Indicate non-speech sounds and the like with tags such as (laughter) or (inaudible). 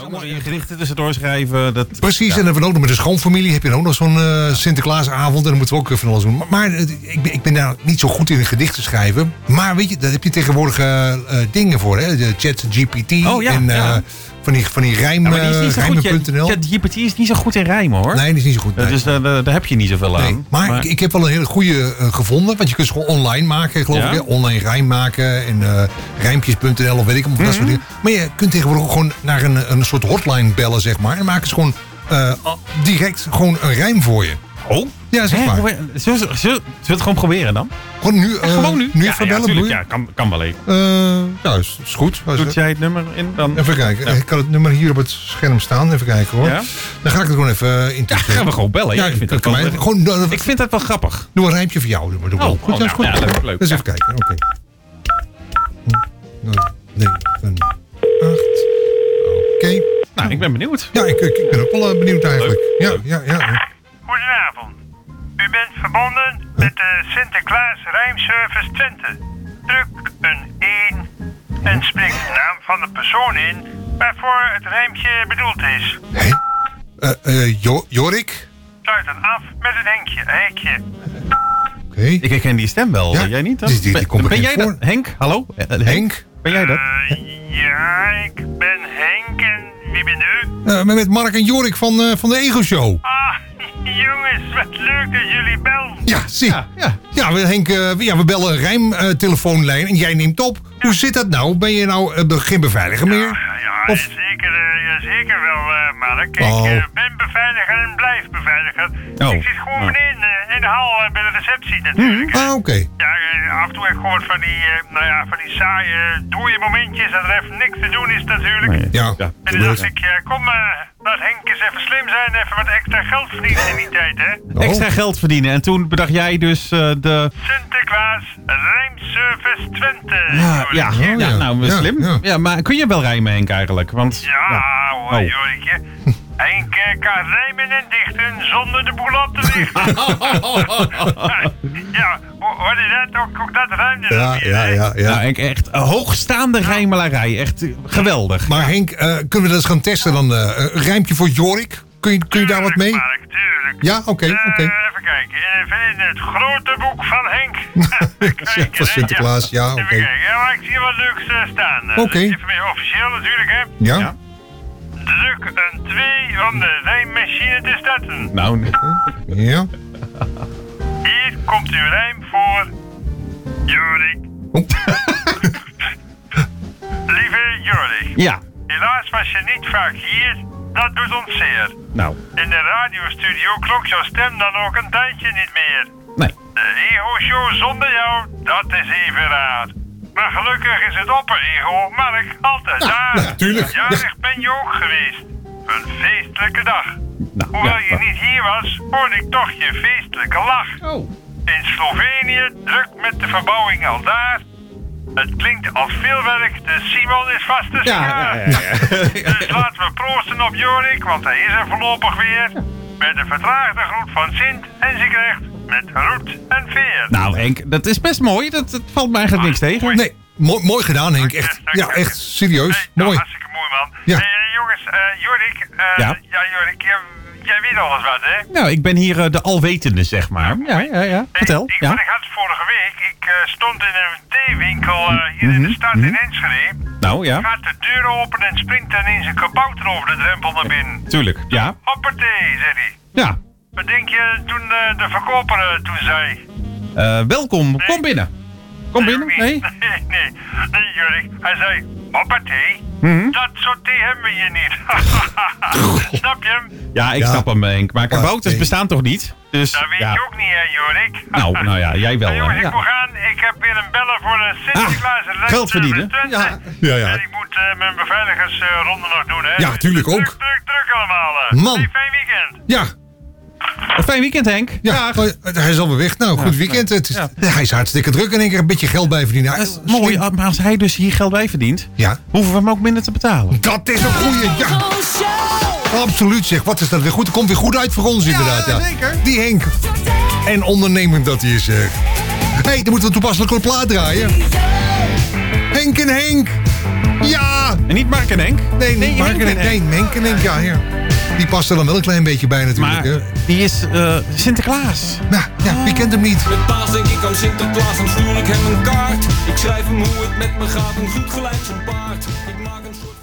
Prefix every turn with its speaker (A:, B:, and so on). A: allemaal Dus je gedichten tussendoor schrijven. Dat,
B: Precies, en dan hebben we ook nog met de schoonfamilie. Heb je dan ook nog zo'n eh, Sinterklaasavond. En dan moeten we ook eh, van alles doen. Maar, maar, eh, ik, ben, ik ben daar niet zo goed in het gedichten schrijven. Maar weet je, daar heb je tegenwoordig eh, eh, dingen voor. Hè? De chat GPT.
A: Oh, ja,
B: en eh,
A: ja.
B: van die, van die rijm,
A: Ja, maar die is niet
B: eh,
A: zo goed.
B: rijmen.nl.
A: Ja, ja, GPT is niet zo goed in rijmen hoor.
B: Nee, dat is niet zo goed.
A: Eh,
B: nee.
A: Dus daar, daar daar heb je niet zoveel
B: Nee,
A: aan.
B: maar, ik, ik heb wel een hele goede eh, gevonden. Want je kunt ze gewoon online maken, geloof
A: Ja?
B: ik. Hè? Online rijm maken en eh, rijmpjes.nl of weet ik allemaal
A: Mhm.
B: dat soort dingen. Maar je kunt tegenwoordig ook gewoon naar een, een soort hotline bellen, zeg maar. En maken ze gewoon eh, direct gewoon een rijm voor je.
A: oh,
B: Ja, zeg
A: hè,
B: maar.
A: hoe- zullen, we- zullen, zullen we het gewoon proberen dan?
B: Gewoon nu, eh,
A: gewoon nu? ja,
B: even
A: ja,
B: bellen,
A: tuurlijk,
B: bedoel je?
A: ja, kan, kan wel even.
B: Eh, ja, is, is goed.
A: Doet jij het nummer in dan?
B: Even kijken. Ik kan het nummer hier op het scherm staan. Even kijken hoor.
A: Ja?
B: Dan ga ik het gewoon even in.
A: Ja, gaan we gewoon bellen. Ja,
B: Ja,
A: ik, vind dat
B: kan
A: wel,
B: mij- gewoon, eh,
A: ik vind dat wel grappig.
B: Doe een rijmpje voor jou. Doe maar, doe maar.
A: Oh,
B: goed,
A: oh,
B: ja, is goed.
A: nou, ja, leuk, leuk,
B: Dus
A: ja.
B: even kijken. Oké. Hm, nou, Nee, een acht. Oké.
A: Nou, ik ben benieuwd.
B: Ja, ik, ik, ik ben ook wel eh, benieuwd eigenlijk. Ja, ja, ja.
C: Goedenavond. U bent verbonden met de Sinterklaas Rijmservice Twente. Druk een 1 en spreek de naam van de persoon in waarvoor het rijmpje bedoeld is.
B: Hé? Eh, eh, Jo- Jorik?
C: Sluit dan af met een henkje, hekje.
B: Oké.
A: Ik herken die stem wel.
B: Ja,
A: Jij niet? Dan?
B: die- die- die
A: Ben-
B: komt
A: ben
B: bekend
A: jij dat?
B: voor.
A: Henk, hallo? Eh, eh,
B: Henk?
A: Ben jij dat?
C: Eh, ja, ik ben Henk en wie bent u?
B: Eh, maar met Mark en Jorik van, eh, van de Ego Show.
C: Ah, (laughs) jongens, wat leuk dat jullie bellen.
B: Ja, zie.
A: Ja,
B: Ja,
A: ja.
B: we, Henk, eh, we- ja, we bellen een rijmtelefoonlijn en jij neemt op. Hoe zit dat nou? Ben je nou eh, geen beveiliger meer?
C: Ja,
B: Of-
C: zeker, eh, ja, zeker wel, eh, Mark. Ik
B: Oh.
C: eh, ben beveiliger en blijf beveiliger.
A: Oh.
C: Ik zit gewoon
A: Oh.
C: beneden eh, in de hal eh, bij de receptie natuurlijk.
B: Ah, oké.
C: Ja, eh, af en toe heb ik gehoord van die, eh, nou ja, van die saaie dode momentjes dat er even niks te doen is natuurlijk.
A: Nee.
B: Ja.
C: En toen dacht ik, ja, kom, eh, laat Henk eens even slim zijn, even wat extra geld verdienen in die tijd, hè.
B: Oh.
A: Extra geld verdienen. En toen bedacht jij dus eh, de...
C: Sinterklaas, Rijmservice Twente.
A: Ja, ja,
B: Oh, ja.
A: ja, nou,
B: Ja,
A: slim.
B: ja.
A: Ja. maar kun je wel rijmen, Henk, eigenlijk? Want,
C: Ja, hoor,
A: Oh.
B: (laughs)
C: Jorikje. Henk eh, kan rijmen en dichten zonder de boel op te lichten.
B: (laughs)
C: ja, ho- hoorde je dat? Ook, ook dat ruimte.
B: Ja, ja, ja,
A: Nou,
B: ja.
A: Henk, echt eh, hoogstaande rijmelarij. Echt eh, geweldig.
B: Maar Henk, eh, kunnen we dat eens gaan testen dan? eh een rijmpje voor Jorik? Kun je, kun je daar wat mee?
C: Mark, tuurlijk.
B: Ja, oké,
C: Eh,
B: oké.
C: even kijken. Even in het grote boek van Henk.
B: (laughs) Ja, van Sinterklaas, ja,
C: Even
B: oké.
C: kijken. Ja, maar ik zie wat leuks eh, staan. Eh,
B: Oké.
C: Even meer officieel natuurlijk, hè.
B: Ja?
A: Ja.
C: Druk een 2 om de rijmmachine te starten.
A: Nou, nee.
B: Ja.
C: Hier komt uw rijm voor. Jorik. (laughs)
B: Oep.
C: Lieve Jorik,
A: ja.
C: helaas was je niet vaak hier. Dat doet ons zeer.
A: Nou,
C: In de radiostudio klonk jouw stem dan ook een tijdje niet meer.
A: nee.
C: De ego-show zonder jou, dat is even raar. Maar gelukkig is het opper-ego Mark altijd
A: Nou,
C: daar.
B: ja, tuurlijk.
C: Jarig ben je ook geweest. Een feestelijke dag.
A: Nou,
C: Hoewel
A: ja,
C: je
A: maar-
C: niet hier was, hoorde ik toch je feestelijke lach.
A: Oh.
C: In Slovenië druk met de verbouwing al daar. Het klinkt als veel werk, de Simon is vast te
A: Ja, ja,
C: schaar.
A: ja. ja.
C: Dus laten we proosten op Jorik, want hij is er voorlopig weer. Met de vertraagde groet van Sint en ze krijgt met roet en veer.
A: nou, Henk, dat is best mooi. Dat, dat valt me eigenlijk niks tegen.
B: Nee, mooi, mooi gedaan Henk. Echt, ja, echt serieus.
A: dus,
C: Hey, nou,
B: Mooi.
C: hartstikke mooi, man.
B: Ja.
C: Eh, jongens, eh, Jorik, eh,
A: Ja.
C: ja. Jorik, jij, jij weet alles wat, hè?
A: Nou, ik ben hier eh, de alwetende, zeg maar. Ja, ja, ja. Vertel.
C: Ik, ik, want
A: Ja.
C: ik had vorige week, ik eh, stond in een theewinkel eh, hier
A: Mhm,
C: in de stad in Enschede.
A: Nou, ja.
C: Gaat de deur open en springt dan in zijn kabouter over de drempel naar binnen.
A: Tuurlijk. Ja.
C: Hoppatee, zei hij.
A: Ja.
C: Wat denk je toen eh, de verkoper eh, toen zei?
A: Eh, welkom. Kom binnen. Kom binnen. Nee?
C: Nee, nee, nee, Jurk. Hij zei, hoppatee,
A: Mhm.
C: dat soort thee hebben we hier
A: (laughs)
C: niet. Snap je hem?
A: Ja, ik
B: Ja.
A: snap hem, Henk. Maar kabouters
B: nee.
A: bestaan toch niet? Dus,
C: Dat weet
A: ja.
C: je ook niet, hè, Jorik.
A: Nou, nou ja, jij wel,
C: Nou, jongens,
A: hè, ja.
C: ik moet gaan. Ik heb weer een bellen voor de Sinterklaas.
A: Ah,
C: en Leicester
A: geld verdienen.
C: Twente.
A: Ja.
B: Ja, ja.
C: En ik moet eh, mijn beveiligersronde nog doen, hè.
B: Ja,
C: Dus
B: tuurlijk ook.
C: Druk, druk, druk allemaal. eh.
B: Man.
C: Hey, fijn weekend.
B: Ja,
A: Een fijn weekend, Henk.
B: ja.
A: Dag.
B: maar hij is alweer weg. Nou, goed weekend. Het is,
A: Ja.
B: ja, hij is hartstikke druk en ik heb een beetje geld bij verdienen.
A: Dat is
B: Ah,
A: mooi,
B: slim.
A: maar als hij dus hier geld bij verdient,
B: Ja.
A: hoeven we hem ook minder te betalen.
B: Dat is een goeie. Ja, absoluut zeg. Wat is dat weer goed? Dat komt weer goed uit voor ons inderdaad. Ja,
A: zeker.
B: Die Henk. En ondernemend dat hij is zeg. Hé, hey, dan moeten we toepasselijk een plaat draaien. Henk en Henk. Ja. Ja.
A: En niet Mark en Henk.
B: Nee,
A: Nee,
B: niet Mark en
A: Henk en
B: Henk. Nee, Henk en Henk, ja, ja. Die past er dan wel een klein beetje bij natuurlijk.
A: Maar
B: Hè.
A: die is eh, Sinterklaas.
B: Nou, ja, wie kent hem niet?
D: Met paas denk ik aan Sinterklaas, dan stuur ik hem een kaart. Ik schrijf hem hoe het met me gaat, een goed gelijk zijn paard. Ik maak een soort...